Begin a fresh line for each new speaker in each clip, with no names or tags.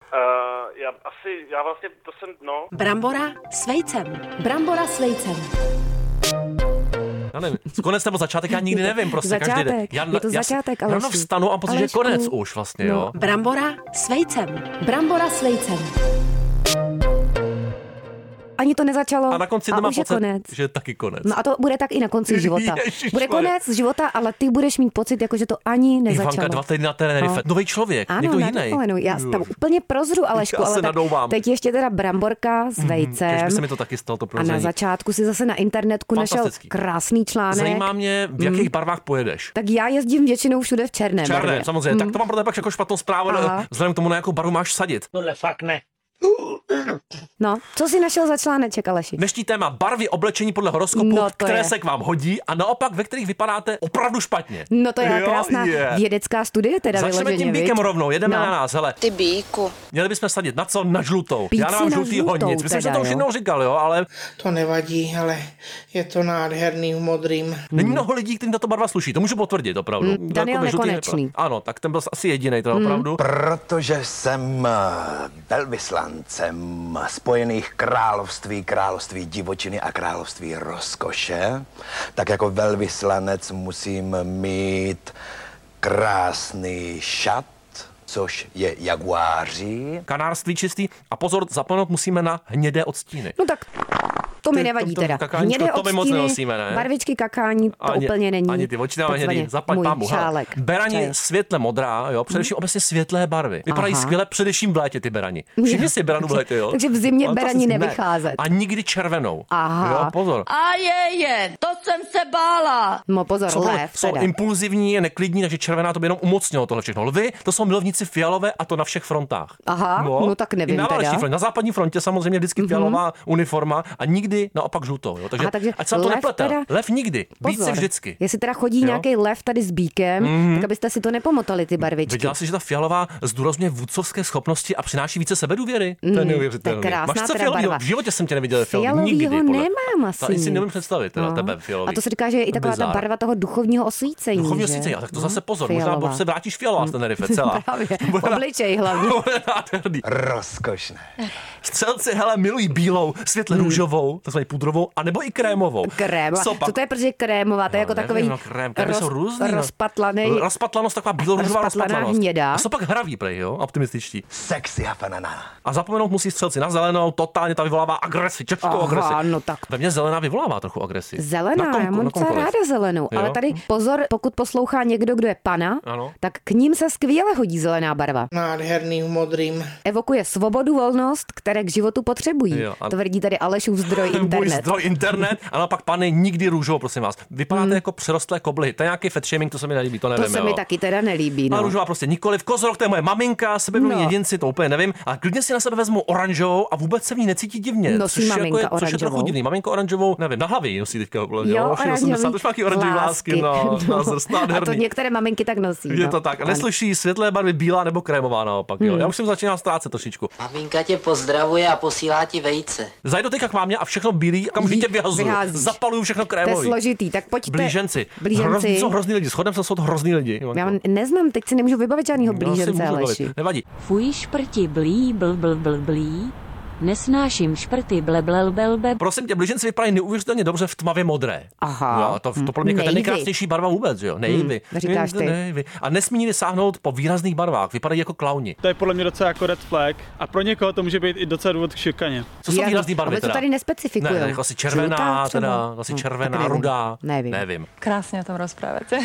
asi, Eh, já vlastně, to jsem, no.
Brambora s vejcem. Brambora s vejcem.
Já nevím, konec nebo začátek, já nikdy nevím, prostě každý den.
Začátek,
Já,
je to
já si
začátek,
ráno
Aleši.
vstanu a pocit, že je
Alešku.
konec už vlastně,
No.
jo.
Brambora s vejcem. Brambora s vejcem.
Ani to nezačalo
A na konci
a
to má
už je
pocit,
konec.
že je taky konec.
No a to bude tak i na konci života.
Ježišmarja.
Bude konec života, ale ty budeš mít pocit, jako že to ani nezačalo.
Ivanka dva týdny na Tenerife.
No.
Nový člověk,
Ano,
někdo
na
jiný.
dovolenou. Já tam úplně prozru, Alešku,
Já se
ale tak,
nadouvám.
teď ještě teda bramborka s vejcem.
Když Hm, by se mi to taky stalo, to
a na
prození.
začátku si zase na internetku našel
Fantastický.
krásný článek.
Zajímá mě, v
Mm.
jakých barvách pojedeš.
Tak já jezdím většinou všude v černém.
Černé,
barvě.
samozřejmě. Tak to mám pro tebe pak jako špatnou zprávu,
Mm. Aha.
ale vzhledem k tomu, na jakou baru máš sadit.
No, co jsi našel za článeček, Aleši?
Dnešní téma barvy oblečení podle horoskopu,
No, to
které
je.
se k vám hodí a naopak, ve kterých vypadáte opravdu špatně.
No to je
Jo,
krásná
je.
vědecká studie teda
Začneme
vyloženě,
tím bíkem
viď?
rovnou, jedeme
No.
na nás, hele.
Ty bíku.
Měli bychom sadit na co? Na žlutou.
Pít
Já
si
nemám
na
žlutý
žlutou
hodnic. Myslím, že
teda,
to už
jo.
jednou říkal, jo, ale
To nevadí, ale je to nádherný v modrým.
není mnoho lidí, kterým tato barva sluší. To můžu potvrdit, opravdu. To jako
Hmm. Daniel
by žlutý
Nekonečný. Hmm.
nebyl. Ano, tak ten byl asi jediný, to opravdu.
Protože jsem eh, velvyslancem Spojených království, království divočiny a království rozkoše, tak jako velvyslanec musím mít krásný šat, což je jaguáří.
Kanárství čistý. A pozor, zapomenout musíme na hnědé odstíny.
No tak to mi
Ty-
nevadí
to- to
teda.
kakáníčko,
Hnědé
to my moc
odstíny,
nenosíme, ne?
Barvičky kakání, No, to
Ani-
úplně není.
Ani ty oči nám
takzvaně
hnědý. Zaplať
můj
pámu.
šálek.
Berani
čaje.
světle modrá, jo, především obecně světlé barvy. Vypadají
Hmm. Aha.
skvěle, především v létě ty berani. Všimni si beranu v létě, jo. No,
Takže v zimě
Fantastický.
berani
Ne.
nevycházet.
A nikdy červenou.
Aha.
Jo, pozor.
A je, je, to jsem se bála.
No pozor,
Jsou,
lev
jsou
teda.
impulzivní, je neklidní, takže červená to by jenom umocnilo tohle všechno. Lvy, to jsou milovníci fialové a to na všech frontách.
Aha, no tak nevím
I na, válečný
teda. Mhm.
front, na západní frontě samozřejmě vždycky fialová uniforma a nikdy naopak žlutou. Jo. Takže,
Aha, takže
ať se na to
lev
neplete.
teda-
Lev nikdy, víc se vždycky.
Jestli teda chodí
Jo. Mhm.
nějaký lev tady s bíkem, tak abyste si to nepomotali ty barvičky.
Viděla jsi, že ta fialová zdůrazňuje vůdcovské schopnosti a přináší více sebedůvěry? Mm, to je neuvěřitelné.
to je krásná
Máš co
teda
fialovýho?
barva.
V životě jsem tě neviděl fialový. Nikdy.
Fialovýho
podle-
nemám asi.
Ta, ani si
nic.
nemůžu představit, teda
No.
tebe fialový.
A to se říká, že je i taková ta
Bizár.
barva toho duchovního osvícení.
Duchovního
že?
sice, tak to
No,
zase pozor, možná
fialová.
se vrátíš fialová z Tenerife celá.
Právě,
To bude na-
obličej hlavně.
to bude nádherný.
Rozkošné.
Střelci, hele, milují bílou, světle
Hmm.
růžovou, takzvaně pudrovou, anebo i krémovou.
Krém.
Co pak?
Co to je, protože krémová, to je jako
nevím,
takový
no, krém, krémy jsou různý, no.
rozpatlaný.
Rozpatlanost, taková bílorůžová
Rozpatlaná
rozpatlanost.
hnědá.
A co pak hraví, prej, jo, optimističtí.
Sexy a banana.
A zapomenout musí střelci na zelenou, totálně ta vyvolává agresi, čečkou
Aha,
agresi.
no tak.
Ve mně zelená vyvolává trochu agresi.
Zelená,
Na komko-
já mám
na
docela
komkoliv.
ráda zelenou,
Jo?
ale tady pozor, pokud poslouchá někdo, kdo je pana,
Ano.
tak k ním se skvěle hodí zelená barva.
Nádherný v modrým.
Evokuje svobodu, volnost, které k životu potřebují.
Jo, a-
Tvrdí tady Alešův zdroj
Můj
internet.
zdroj internet, a naopak pane, nikdy růžovou, prosím vás. Vypadáte jako přerostlé koblihy. To je nějaký fat shaming, to se mi nelíbí, to nevím.
Hmm. To se
jo.
mi taky teda nelíbí.
Ale
No.
růžová prostě nikoliv. Kozorok, to je moje maminka, sebevědomí
No.
no. jedinci, to úplně nevím. A klidně si na sebe vezmu oranžovou a vůbec se v ní necítí divně.
Nosí
což,
maminka
je, což je trochu
oranžovou?
divný. Maminka oranžovou, nevím, na hlavě ji nosí teďka. vole,
Jo,
už je 80, už má taky oranžový lásky. No, no.
A to některé maminky tak nosí.
Je
no.
to tak. A
Ano. Hmm.
neslyší světlé barvy bílá nebo krémová naopak. Jo. Já už jsem začínal ztrácet trošičku.
Maminka tě pozdravuje a posílá ti vejce.
Zajdu teďka k mámě a všechno bílý a můžu tě vyhazuju.
Vyházíš.
Zapaluju všechno
To je
krémový.
složitý, tak pojďte.
Blíženci. Hrozný,
Blíženci.
jsou hrozný lidi. Shodem se jsou to hrozný lidi.
Já vám neznám, teď si nemůžu vybavit žádného
No, asi
blížence,
můžu bavit.
Aleši.
Nevadí.
Fuj šprti blí bl bl bl blí. Nesnáším šprty bleblel belbe.
Prosím tě, blíženci vypadají neuvěřitelně dobře v tmavě modré.
Aha.
No, to, to pro mě je ta
Nejvy.
nejkrásnější barva vůbec, jo? Nejvy.
Hmm, říkáš ty.
Nejvy. A nesmí nesáhnout po výrazných barvách, vypadají jako klauni.
To je podle mě docela jako red flag a pro někoho to může být i docela důvod k šikaně.
Co jsou
Já-
výrazný barvy
ale to
teda?
tady nespecifikujou.
Ne, ne, jako asi červená,
Žlutá třeba?
teda, asi
Hm,
červená,
tak nevím.
rudá.
Nevím.
Nevím.
Krásně o tom rozpráváte.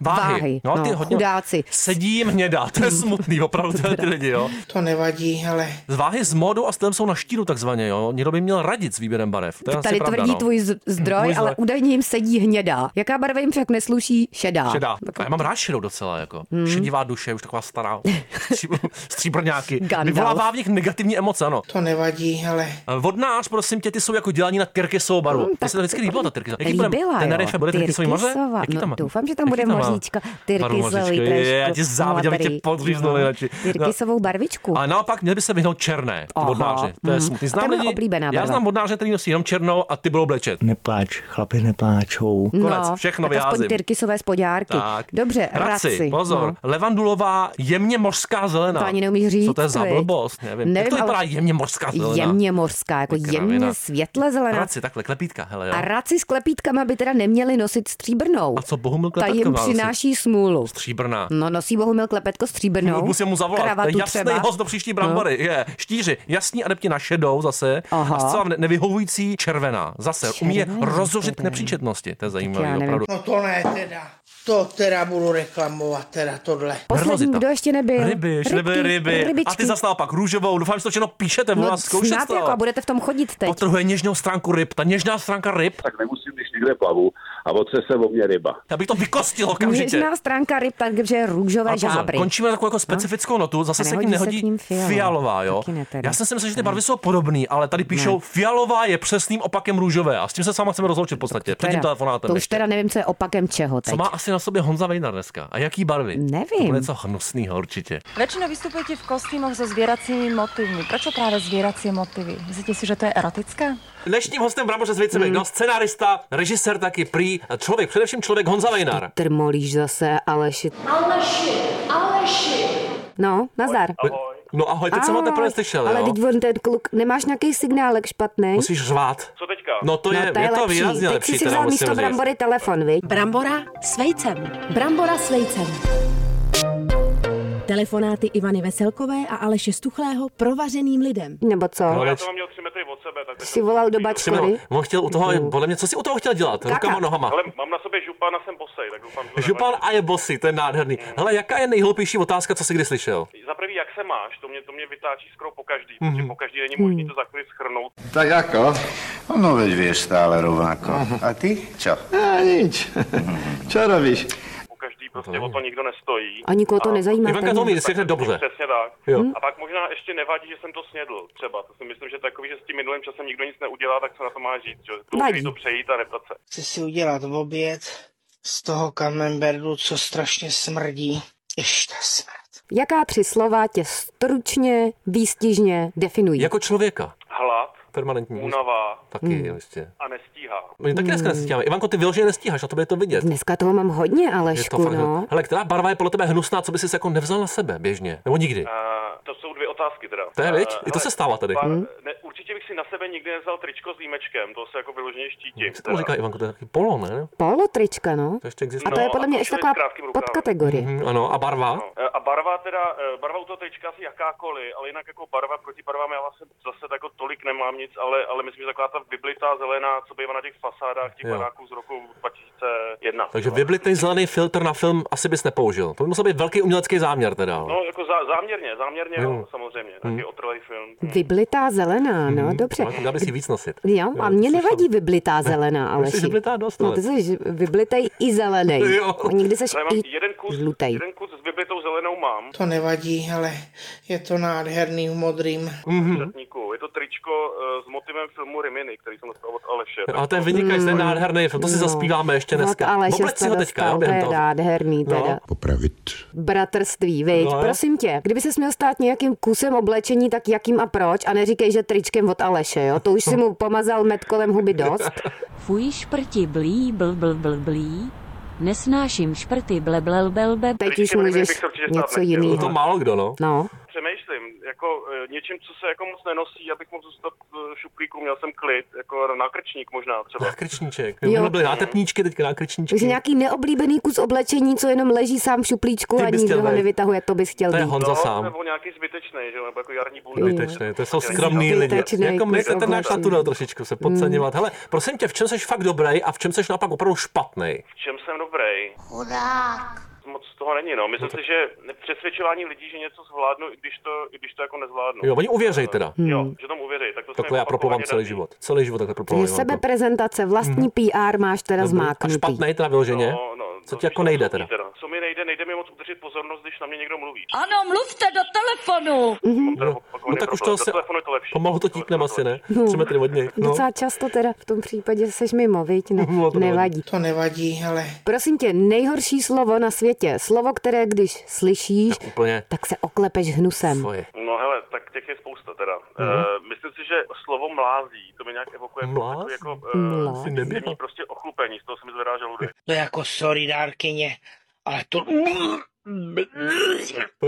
Váhy.
Váhy,
No,
no,
ty hodně...
chudáci.
Sedí jim hnědá, to je smutný, opravdu tyhle ty lidi, jo.
To nevadí, ale
Z váhy s módou a stylem jsou na štíru takzvaně, jo. Někdo by měl radit s výběrem barev. To je asi
Tady
pravda,
tvrdí
no.
tvůj z- zdroj,
Můj
ale
zdroj.
údajně jim sedí hnědá. Jaká barva jim však nesluší? Šedá.
Šedá. A já mám rád šedou docela, jako. Hmm. Šedivá duše, už taková stará. stří- Stříbrňáky.
Gandalf.
Vyvolává v nich negativní emoce, ano.
to nevadí, ale
Vodnář, prosím tě, ty jsou jako dělaní na Tyrkisovou baru.
Hm,
Mm, tak, se to vždycky líbilo, ta Tyrkisová.
Líbila,
ten
jo.
Tenerife bude Tyrkisový moře?
Tyrkisova.
Jaký
No,
tam má-
doufám, že tam
jaký
bude
má
mořička.
baru
Tyrkisový
mořička? Je, je, Já ti
trošku
závidím, aby tě
modrý.
podříznuli
No.
radši. No.
Tyrkisovou barvičku.
A naopak měl by se vyhnout černé
Aha,
modnáře. To je
mhm.
smutný.
A to je moje oblíbená
já
barva.
znám modnáře, který nosí jenom černou a ty budou blečet.
Nepláč, chlapi nepláčou.
Konec, všechno
No, tak aspoň
vyházím.
tyrkysové spodňárky.
Tak.
Dobře,
raci.
raci.
Pozor,
No.
levandulová jemně mořská zelená.
To ani neumíš říct,
Co to je za
viď?
blbost? Nevím.
Nevím,
Jak to
ale-
vypadá jemně mořská zelená?
Jemně mořská, jako
Je kravina.
jemně světle zelená.
Raci, takhle, klepítka, hele jo.
A raci s klepítkama by teda neměli nosit stříbrnou.
A co Bohumil
Ta
Klepetko
jim
má nosit?
přináší smůlu.
Stříbrná.
No nosí Bohumil klepetko stříbrnou.
Musím mu zavolat. To
No, Kravatu
je jasný
třeba. No,
host do příští brambory. Je. Štíři, jasní adepti na šedou zase.
Aha.
A zcela ne- nevyhovující červená. Zase umí je
Červená,
rozhořit k
teda.
nepříčetnosti. To je
Já
zajímavé,
nevím.
opravdu.
No to ne teda. To teda budu reklamovat, teda tohle.
Poslední,
Nervozita.
kdo ještě nebyl?
Ryby, ryby, ryby.
rybičky.
A ty zas naopak růžovou. Doufám, že to všechno píšete, budu
No
vás zkoušet.
snad
to.
jako a budete v tom chodit teď.
Potrhuje něžnou stránku ryb. Ta něžná stránka ryb,
tak nemusím, když někde plavu a otře se o mě ryba.
já bych to vykostil okamžitě.
Něžná stránka ryb, takže růžové
Ale pozor,
žábry.
končíme takovou jako specifickou no. notu, zase
A
se k ní
nehodí se
nehodí
k ním fialová.
fialová, jo.
Taky ne teda.
Já jsem si myslel, že ty barvy jsou podobné, ale tady píšou fialová je přesným opakem růžové a s tím se sama chceme rozloučit v podstatě před tím
Teda,
telefonátem.
to už
ještě.
teda nevím, co je opakem čeho teď.
Co má asi na sobě Honza Vejna dneska? A jaký barvy?
Nevím.
To bude něco hnusného určitě.
Väčšinou vystupujete v kostýmoch so zvieracími motívmi. Prečo práve zvieracie motívy? Myslíte si, že to je erotické?
Dnešním hostem Bramboře s Vejcem mm.
Hmm.
no, scenárista, režisér taky prý, eh, člověk, především člověk Honza Vejnar.
Trmolíš zase, Aleši.
Aleši, Aleši.
No, nazdar.
Ahoj.
No ahoj, teď jsem ho
Ahoj,
teprve slyšel,
Ale
jo?
teď on ten kluk, nemáš nějaký signálek špatný?
Musíš řvát.
Co teďka?
No to
no,
je,
to je,
je to
lepší.
výrazně
teď
lepší.
si si
teda
vzal
musím
místo
říct.
brambory telefon, viď?
Brambora s vejcem. Brambora s vejcem.
Telefonáty Ivany Veselkové a Aleše Stuchlého provařeným lidem.
Nebo co?
No,
Ale já jsem měl 3 metry od sebe, tak...
Jsi volal do bačkory?
Přimo, on chtěl u toho, podle mě, co si u toho chtěl dělat? Rukama, nohama.
Ale mám na sobě župan a jsem bosej, tak doufám, že... to
Župan
nevadí.
a je bosy, to je nádherný.
Hmm.
Hele, jaká je nejhloupější otázka, co jsi kdy slyšel?
Za prvý, jak se máš, to mě, to mě vytáčí skoro po každý,
Mhm.
protože po každý není
Mhm.
možný to za chvíli schrnout.
Tak ako? No veď vieš stále rovnako. A ty? Čo? A nič. Čo robíš?
Po každý prostě o to nikdo nestojí.
A nikoho to nezajímá.
Ivanka to umí, No jestli řekne dobře.
Přesně tak.
Jo.
Mhm.
A pak možná ještě nevadí, že jsem to snědl třeba. To si myslím, že takový, že s tím minulým časem nikdo nic neudělá, tak se na to má říct. Že to
Vadí.
to přejít a neptat se.
Chci si udělat oběd z toho kamemberdu, co strašně smrdí. Ještě smrt.
Jaká tři slova tě stručně, výstižně definují?
Jako člověka.
Hlad,
Permanentní.
únava
Taky, hmm. jistě.
a nestíhá.
My taky dneska
Hmm.
nestíháme. Ivanko, ty vyloženě nestíháš, a to je to vidět.
Dneska toho mám hodně, Alešku, no.
Hele, která barva je podle tebe hnusná, co by si jako nevzal na sebe běžně? Nebo nikdy?
Eh, A to jsou dvě otázky teda.
To je, viď?
A,
I to se
hele,
stává tady.
Pár,
Hm.
ne, určitě bych si na sebe nikdy nevzal tričko s límečkem, to se jako vyloženě štítím.
Jak se tomu říká, Ivanko, to je taky polo, ne?
Polotrička, no.
To ještě
A
existuje.
to je
No,
podle
a
mě
to
ještě
člověk
taková
s krátkým rukávem.
podkategorie.
Mhm, ano, a barva?
No. E, A barva teda, e, barva u toho trička asi jakákoliv, ale jinak jako barva proti barvám já vlastně zase tak jako tolik nemám nic, ale, ale myslím, že taková ta vyblitá zelená, co bývá na těch fasádách těch
Jo.
baráků z roku 2001.
Takže vyblitej zelený filtr na film asi bys nepoužil. To by musel být velký umělecký záměr teda. ale-
No, jako zá, záměrně, záměrně,
Jo. Hmm.
jo. samozřejmě. Taky otrlej film.
Mhm.
Hmm.
Vyblitá zelená, no, dobře.
Ale Měl bys si víc nosit.
Jo, a mě nevadí vyblitá zelená, ale
jsi vyblitá dost,
No,
ale-
ty jsi vyblitej i zelenej.
Jo.
A Nikdy seš
Ale mám
i
jeden kus,
žlutej.
jeden kus s vyblitou zelenou mám.
To nevadí, ale je to nádherný v modrým.
Šatníku. Je to tričko eh, s motivem filmu Rimini, který jsem dostal od Aleše.
Ale to je vynikající, ten nádherný film, No, to si zaspíváme ještě
Hmm. No,
dneska.
ale
Obleč si ho teďka, jo,
to
během
je
toho.
nádherný
No.
teda.
Popravit.
Bratrství, viď?
No.
Prosím tě, kdyby se měl stát nějakým kusem oblečení, tak jakým a proč? A neříkej, že tričkem od Aleše, jo? To už si mu pomazal med kolem huby dost.
Fuj šprti blí bl bl bl blí. Nesnáším šprty ble blel bel bel.
Teď už
Tričkem nevím,
můžeš
bych to určitě stát
něco
nechtěl.
No to
jiného.
málo kdo, no.
No,
Hmm. Přemýšlím, jako eh, něčím, co se jako moc nenosí, abych mohl zůstat eh, v šuplíku, měl jsem klid, jako nákrčník možná třeba.
Nákrčníček.
Jo.
Jo. byly nátepníčky, teďka nákrčníčky.
takže nějaký neoblíbený kus oblečení, co jenom leží sám v šuplíčku
Ty
a
bys
nikdo
chtěl
ho
být.
nevytahuje, to bys chtěl
To je
být.
No,
Honza sám.
nebo nějaký zbytečný, že jo, nebo jako jarní bundu.
Zbytečný, to jsou skromní lidi.
Zbytečnej
Jako my,
kus
ten náš
oblečení.
tatunel trošičku se podceňovat. Hele, prosím tě, v čem jsi fakt dobrý a v čem jsi naopak opravdu špatný?
V čem jsem dobrý?
Chudák.
Moc toho není, no. Myslím si, že přesvědčování lidí, že něco zvládnu, i když to, i když to jako nezvládnu.
Jo, oni uvěřej teda.
Jo, že tomu uvěří, tak to jako se
Takhle
mi
já proplovám
opakovaně
celý
daří.
život. Celý život takhle proplovám.
Takže sebeprezentace,
Mhm.
vlastní PR máš teda
A
zmáknutý.
špatný teda vyloženě?
No, no,
Co
to
ti jako
spíš
nejde
absolutní
teda?
Co mi nejde, nejde mi moc udržet pozornost, když na mě někdo mluví.
Ano, mluvte do telefonu.
Mám teda
No,
opakovaný
no tak už
problém.
to
Do
se...
telefonu je to lepší.
Pomalu to
Do
típnem
telefonu
asi,
je to
ne?
lepší.
Tři metry od něj. No.
Docela často teda v tom případě seš mimo, viď? No,
No, to
nevadí.
To nevadí, ale
Prosím tě, nejhorší slovo na světě. Slovo, které když slyšíš,
Úplně
tak se oklepeš hnusem.
svoje.
No hele, tak těch je spousta teda.
Mhm.
Uh, myslím si, že slovo mlází, to mi nějak evokuje
Mláz?
takový jako
Mláz?
uh, zimní prostě ochlupení, z toho se mi zvedá žaludek.
To je jako sorry, dárkyně, ale to...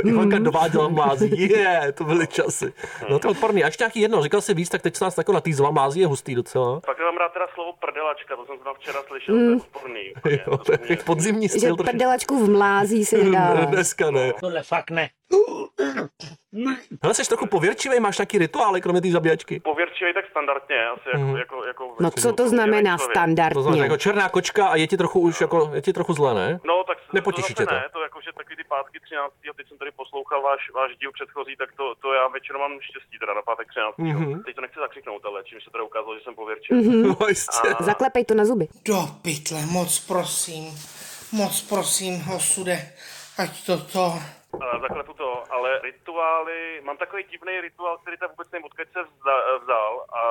Ivanka dováděla mlází, je, to byly časy. No to je odporný. A ještě nějaký jedno, říkal jsi víc, tak teď se nás jako natýzla, mlází je hustý docela.
Pak mám rád teda slovo prdelačka, to jsem zrovna včera slyšel,
Mm.
to je úsporný. úplně.
Jo, to je podzimní
Že
styl. trošku.
prdelačku v mlází si No, nedává.
Dneska ne.
Tohle fakt ne.
Hele, jsi trochu pověrčivý, máš nějaký rituály, kromě té zabíjačky?
Pověrčivý tak standardně, asi jako,
Mhm.
jako, jako
No co to znamená
To znamená,
standardně?
jako černá kočka a je ti trochu už jako, je ti trochu zle, ne?
No, tak s-
Nepotěší
to
tě
zase
to.
ne, to jako, že takový ty pátky 13. a teď jsem tady poslouchal váš, váš díl předchozí, tak to, to já většinou mám štěstí teda na pátek 13.
Mhm.
Teď to nechci zakřiknout, ale čím se teda ukázalo, že jsem pověrčivý.
Mhm.
Vlastně,
A-
Zaklepej to na zuby.
Do pytle, moc prosím, moc prosím, osude, ať to to...
A zaklepu to, ale rituály, mám takový divný rituál, který tam vůbec nevím, odkud se vza- vzal, a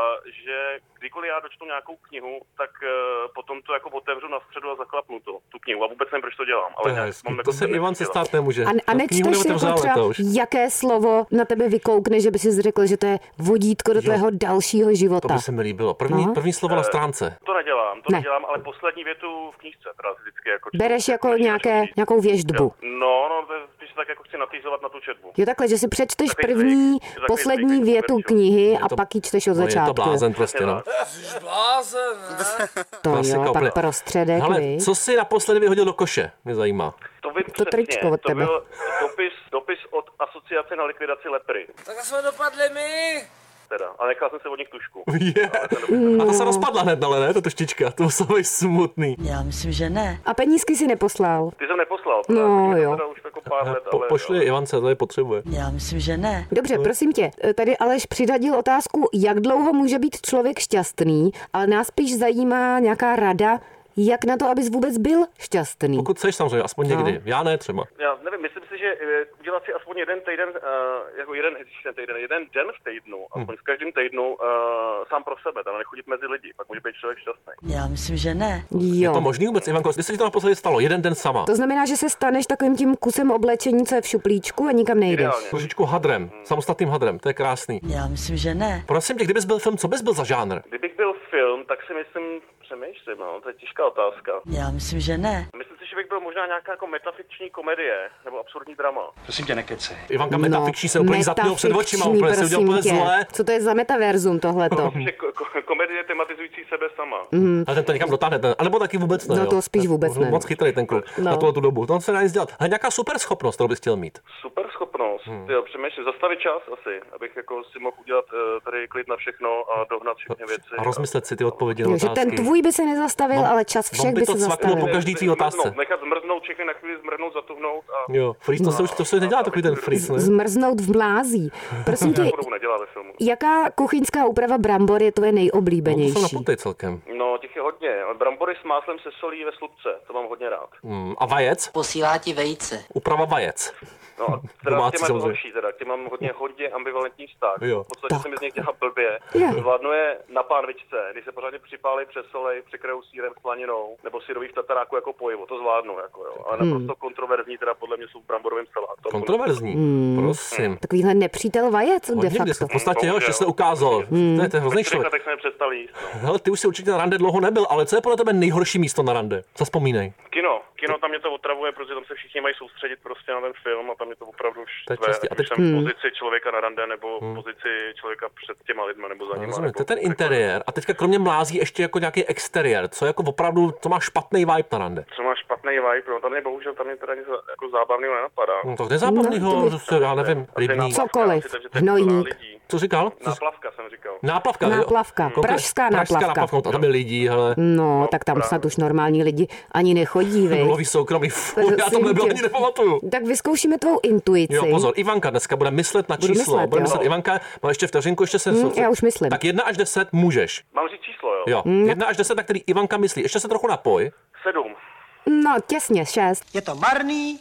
že kdykoliv já dočtu nějakou knihu, tak eh, potom to jako otevřu na středu a zaklapnu to, tu knihu a vůbec nevím, proč to dělám. Ale
To je
nějak
hezký.
mám
To
jako
se
ten-
Ivan se stát nemůže.
A, a
No, knihu
nečteš
neotevřela,
jako
ale
třeba,
to už.
jaké slovo na tebe vykoukne, že by si řekl, že to je vodítko do tvého dalšího
To
života.
by se mi líbilo. První,
No.
první slovo na stránce.
To nedělám, to
Ne.
ne. nedělám, ale poslední větu v knížce teda vždycky jako... čtu.
Bereš jako nějaké, nějakou věždbu.
No, no, to je spíš tak jako chci natýzovat na tu četbu.
Jo takhle, že si přečteš
Takový
první,
zvyk, takový
poslední
zvyk,
větu
Berčo.
knihy a pak ji čteš od
No, je to
začátku.
blázen prostě, no.
Jsi blázen, ne?
To
Klasika
jo,
úplně.
pak prostředek,
Hele,
viď?
co jsi naposledy vyhodil do koše? Mě zajímá.
To, vím
To tričko od
to
tebe.
byl dopis, dopis od asociace na likvidaci lepry.
Tak jsme dopadli my.
Teda. A nechal jsem se od nich tušku.
Je. A
No.
to se rozpadla hned, ale ne, tato štička. To muselo být smutný.
Já myslím, že ne. A penízky si neposlal.
Ty jsem neposlal.
No jo.
Teda už jako pár let,
Eh, Po,
ale...
pošli Ivance, to je potřebuje.
Já myslím, že ne.
No.
Dobře, prosím tě, tady Aleš přidadil otázku, jak dlouho může být člověk šťastný, ale nás spíš zajímá nějaká rada, jak na to, abys vůbec byl šťastný.
Pokud seš samozřejmě, aspoň
No.
někdy. Já ne třeba.
Já nevím, myslím si, že eh, udělat si aspoň jeden týden, eh, jako jeden, ježiš, jeden týden, jeden den v týdnu,
Hm.
aspoň v každém týdnu, eh, sám pro sebe, teda nechodit mezi lidi, pak může být člověk šťastný.
Já myslím, že ne.
Je to
Jo.
možný vůbec, Ivanko? Kdy se ti to naposledy stalo? Jeden den sama.
No. To znamená, že se staneš takovým tím kusem oblečení, co je v šuplíčku a nikam nejdeš.
Trošičku hadrem, samostatným hadrem, to je krásný.
Já myslím, že ne.
Prosím tě, kdybys byl film, co bys byl za žánr?
Kdybych byl film, tak si myslím, přemýšlím, no, to je těžká otázka.
Já myslím, že ne.
Myslím si, že bych byl možná nějaká jako metafikční komedie, nebo absurdní drama.
Hmm.
Prosím tě, nekecej.
Ivanka metafikční se úplně zatměl před očima,
metafikční,
úplně se udělal
No, prosím
úplně
tě.
zlé.
Co to je za metaverzum tohleto?
Že ko- ko- komedie tematizující sebe sama.
Mhm.
Ale ten to někam dotáhne, ten, anebo taky vůbec ne.
No
jo.
to spíš
Ten-
vůbec
byl
ne.
Moc chytrý ten kluk
No.
na tuhle tu dobu. To se dá nic dělat. A nějaká super schopnost, kterou bys chtěl mít.
Super schopnost, hmm. jo, přemýšlím, zastavit čas asi, abych jako si mohl udělat eh, tady klid na všechno a dohnat všechny věci.
A rozmyslet si ty odpovědi na
Jo, že
otázky.
ten tvůj by se nezastavil, ale čas
on
všech
by
by
to
se
cvaknul
zastavil.
po každý tý otázce.
Zmrznout, nechat zmrznout všechny na chvíli, zmrznout, zatuhnout a...
Jo, frýz, to se už to
No.
se nedělá takový ten frýz, ne?
Zmrznout v mlází. Prosím
Já
tě,
to budu nedělat ve filmu.
jaká kuchyňská úprava brambor je tvoje
No, To jsou
nejoblíbenější?
naputej celkem.
No, těch je hodně. Brambory s máslem se solí ve slupce, to mám hodně rád.
Mm, a vajec?
Posílá ti vejce.
Uprava vajec.
No a teda k
Domácí
těm je to
samozřejmě.
horší, teda. K těm mám hodně, hodně ambivalentní vztah.
Jo.
V podstatě jsem z nich dělal blbě.
Jo.
Zvládnu je na pánvičce, když se pořádně připálej, přesolej, překrajou sírem s planinou, nebo syrový v tataráku jako pojivo, to zvládnu, jako jo. Ale
Hmm.
naprosto kontroverzní, teda podle mě jsou v bramborovém salátu.
Kontroverzní. Prosím.
Takovýhle nepřítel vajec Hmm. de
Hodně
facto.
v podstatě, jo, že se ukázal. To je ten hrozný člověk.
Hmm. Tak se mi přestal jíst. no.
Hele, ty už si určitě na rande dlouho nebyl, ale co je podle tebe nejhorší místo na rande? Zaspomínej.
Kino, kino tam mě to otravuje, protože tam se všichni mají soustředit prostě na ten film a tam mě to opravdu
To je
štve,
častý. A
ať už
teď-
jsem v
Hmm.
pozici člověka na rande nebo v pozici člověka před těma lidma nebo za nima.
No,
jako
Rozumím,
nebo...
to je ten interiér. A teďka kromě mlází ještě jako nějaký exteriér, co jako opravdu, to má špatný vibe na rande.
Co má špatný vibe, no tam mě bohužel tam mě teda nic jako zábavného nenapadá.
No, to nezápadnýho,
No,
no, to... já nevím, rybník.
Cokoliv. Hnojník.
Co říkal? Co říkal?
Náplavka jsem říkal.
Náplavka,
Náplavka,
jo. Konkrét-
pražská náplavka.
náplavka. no, tam je lidí, hele.
No, tak tam snad už normální lidi ani nechodí, vy.
Loví soukromí, fuj,
Takže
já
si
to nebyl
tě-
ani nepamatuju.
Tak vyzkoušíme tvou intuici.
Jo, pozor, Ivanka dneska bude myslet na
Budu
číslo.
myslet,
bude
jo.
myslet Ivanka, má ještě vteřinku, ještě se...
Hm, já už myslím. Hmm.
Tak jedna až deset můžeš.
Mám říct číslo, jo?
Jo, jedna až deset, na který Ivanka myslí. Ještě se trochu napoj.
Sedm.
No, těsně, šest.
Je to marný,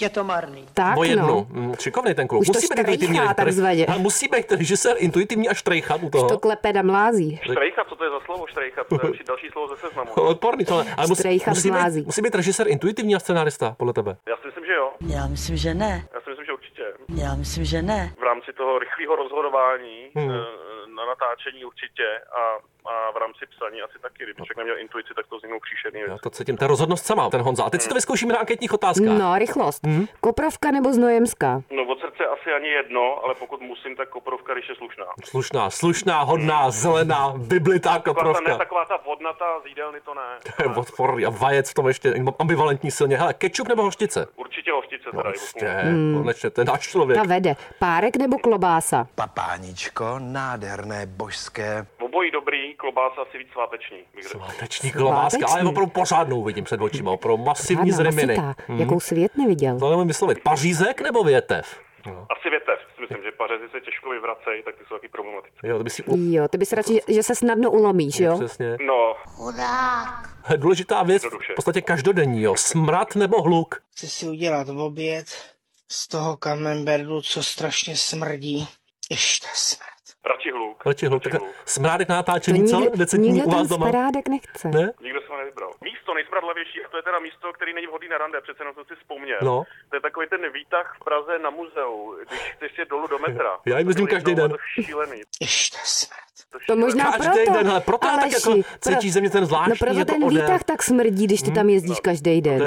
je to marný.
Tak
o jednu.
no.
Mm, Šikovnej ten kluk.
Už to
musí být
štrejchá
intuitivní
takzvaně.
Ale musí být režisér intuitivní a štrejchat u toho.
To klepe na mlází.
Štrejcha, co to je za slovo štrejcha? To je další, další slovo ze seznamu.
Odporný tohle. Ale musí,
Štrejchat
musí,
mlází.
být, musí být režisér intuitivní a scenárista, podle tebe.
Já si myslím, že jo.
Já myslím, že ne.
Já si myslím, že určitě.
Já myslím, že ne.
V rámci toho rychlého rozhodování
Hmm.
hmm. na natáčení určitě a, a v rámci psaní asi taky. Kdyby člověk neměl intuici, tak to vzniknou příšerný věc.
Já to cítím, ta rozhodnost sama, ten Honza. A teď si to vyzkoušíme na anketních otázkách.
No, rychlost.
Mhm.
Koprovka nebo Znojemská?
No od srdce asi ani jedno, ale pokud musím, tak koprovka, když je slušná.
Slušná, slušná, hodná, zelená, vyblitá
Taková ta, ne,
koprovka.
taková ta vodnatá z jídelny, to ne.
To je odporný a vajec v tom ještě ambivalentní silně. Hele, kečup nebo hoštice?
Určitě hoštice
No,
teda.
prostě,
Hmm.
konečně, to je náš člověk.
Ta vede. Párek nebo klobása?
Papáničko, nádherné, božské.
Obojí dobrý, klobása asi víc sváteční. bych řekl.
Váteční klobáska, ale
Sváteční.
opravdu pořádnou vidím před očima, opravdu masivní
Žádná
zreminy.
masitá, jakou svět neviděl.
To nemůžu vyslovit. Pařízek nebo větev?
Asi větev, si myslím, že pařezy se těžko vyvracejí, tak ty jsou taky problematické.
Jo, to by si... u-
Jo, ty bys radši, že se snadno ulomíš, jo?
Přesně.
No.
Chudák.
Důležitá věc, v podstatě každodenní, jo. Smrad nebo hluk?
Chci si udělat oběd z toho kamemberdu, co strašně smrdí. Ještě smrt.
Radši hluk.
Radši hluk. Tak smrádek na
To
natáčení, co?
nikdo,
Decetní
nikdo
u vás
ten
doma.
sparádek nechce.
Ne?
Nikdo jsem ho nevybral. Místo nejsmradlavější, a to je teda místo, který není vhodný na rande, přece jenom jsem si vzpomněl.
No.
To je takový ten výtah v Praze na muzeu, když chceš je dolů do metra.
Já jim jezdím každý den.
To je šílený.
Ještě smrt.
To možná
Každý
proto,
den, hele, proto já tak
Aleši,
jako cítí ze mě ten zvláštní
No proto
jako
ten
odér.
výtah tak smrdí, když ty tam
Hmm.
jezdíš
No,
každý den.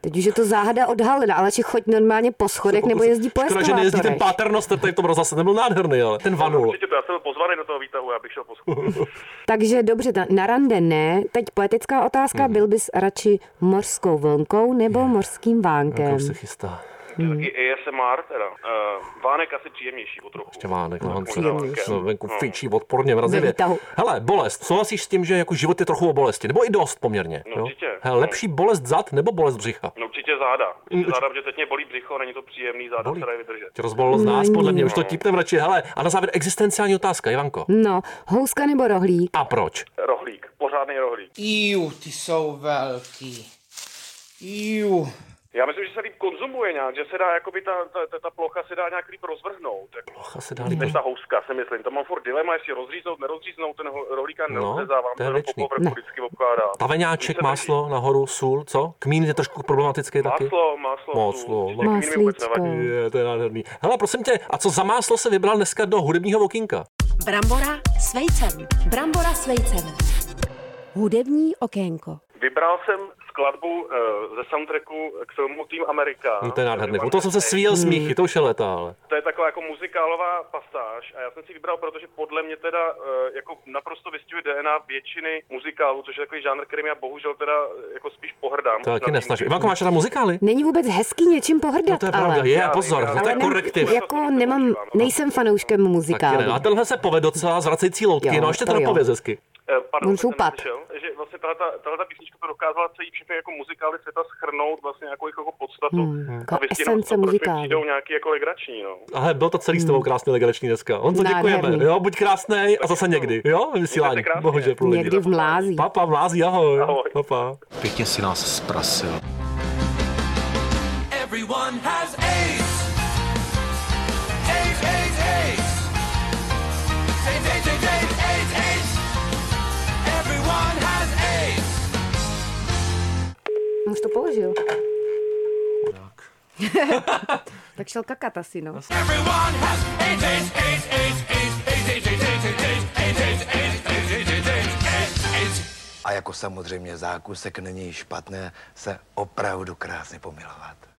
Teď už je to záhada odhalena, ale či choď normálně po schodech nebo jezdí po
Škoda, že nejezdí ten
eskalátorech.
Pater Noster, tady to byl zase, ten byl nádherný, ale ten vanul.
Určitě to, já jsem byl pozvaný do toho výtahu, já bych šel po schodech.
Takže dobře, ta, na rande ne. Teď poetická otázka,
Hmm.
byl bys radši mořskou vlnkou nebo morským vánkem?
Kam se chystá?
Taky ASMR teda. Uh, vánek asi příjemnější o trochu.
Ještě Vánek, no, Honzo,
Příjemnější.
no, venku
No.
fičí odporně mrazivě.
Ve výtahu.
Hele, bolest, souhlasíš s tím, že jako život je trochu o bolesti, nebo i dost poměrně?
No,
jo?
určitě.
Hele, lepší bolest zad nebo bolest břicha?
No určitě záda.
Mm,
Určitě záda, protože teď mě bolí břicho, není to příjemný, záda se dají vydržet.
Tě rozbolilo z nás, podle mě, už to
No.
tipnem radši. Hele, a na závěr existenciální otázka, Ivanko.
No, houska nebo rohlík?
A proč?
Rohlík, pořádný rohlík.
Iu, ty jsou velký. Iu.
Já myslím, že se líp konzumuje nějak, že se dá, jakoby ta, ta, ta, ta plocha se dá nějak líp rozvrhnout. Jako.
Plocha se dá líp
Než ta houska, si myslím. To mám furt dilema, jestli rozříznout, nerozříznout, ten ho- rohlíka
No,
nerozřezávám,
to je
ten ho po
věčný.
povrchu vždycky obkládá.
Taveňáček, máslo, nahoru, sůl, co? Kmín je trošku problematický taky.
Máslo, máslo,
Máslo,
sůl. Kmín mi vůbec Maslíčko. nevadí.
Je, to je nádherný. Hele, prosím tě, a co za máslo se vybral dneska do hudebního okýnka?
Brambora s vejcem. Brambora s vejcem.
Hudební okénko.
Vybral jsem skladbu eh, ze soundtracku k filmu Team America.
No to je nádherný. U toho jsem se svíjel z míchy, to už
Hmm.
je léta, ale.
To je taková jako muzikálová pasáž a já jsem si ji vybral, protože podle mě teda eh, jako naprosto vystihuje DNA většiny muzikálů, což je takový žánr, kterým já bohužel teda eh, jako spíš pohrdám.
To taky
Nad tím.
nesnažím. Ivanko, máš tam muzikály?
Není vůbec hezký něčím pohrdat,
No to je
ale...
pravda, je, pozor,
Ale
to je
nem-
korektiv.
Jako nemám, nejsem fanouškem
Taky ne.
muzikálu.
A tenhle se povede docela zvracející loutky,
Jo,
no ještě
to
to
jo.
napověz hezky.
Eh, Pardon,
On
že jsem
šupat.
neslyšel, že vlastně tahle, tahle písnička to dokázala celý všechny jako muzikály světa schrnout vlastně nějakou jako podstatu
Hmm,
a
jako
vystihnout
esence
to, proč mi
muzikálu.
přijdou nějaký jako legrační, no.
Ale bylo to celý s
Hmm.
tebou krásně legrační dneska. Honzo, děkujeme.
Nádherný.
Jo, buď krásný a zase někdy. Jo, ve vysílání. Bohužel pro lidi.
Někdy v mlází.
Papa, mlází, ahoj. ahoj. Papa.
Pěkně si nás zprasil.
Everyone has AIDS. AIDS, AIDS, AIDS. AIDS, AIDS, AIDS, AIDS, AIDS, AIDS. Everyone has AIDS.
Už to položil. tak šel kakat asi, no.
Everyone has AIDS, AIDS, AIDS, AIDS, AIDS, AIDS, AIDS, AIDS, AIDS, AIDS, AIDS, AIDS, AIDS, AIDS, AIDS, AIDS, AIDS, AIDS, AIDS.
A jako samozřejmě zákusek není špatné se opravdu krásně pomilovat.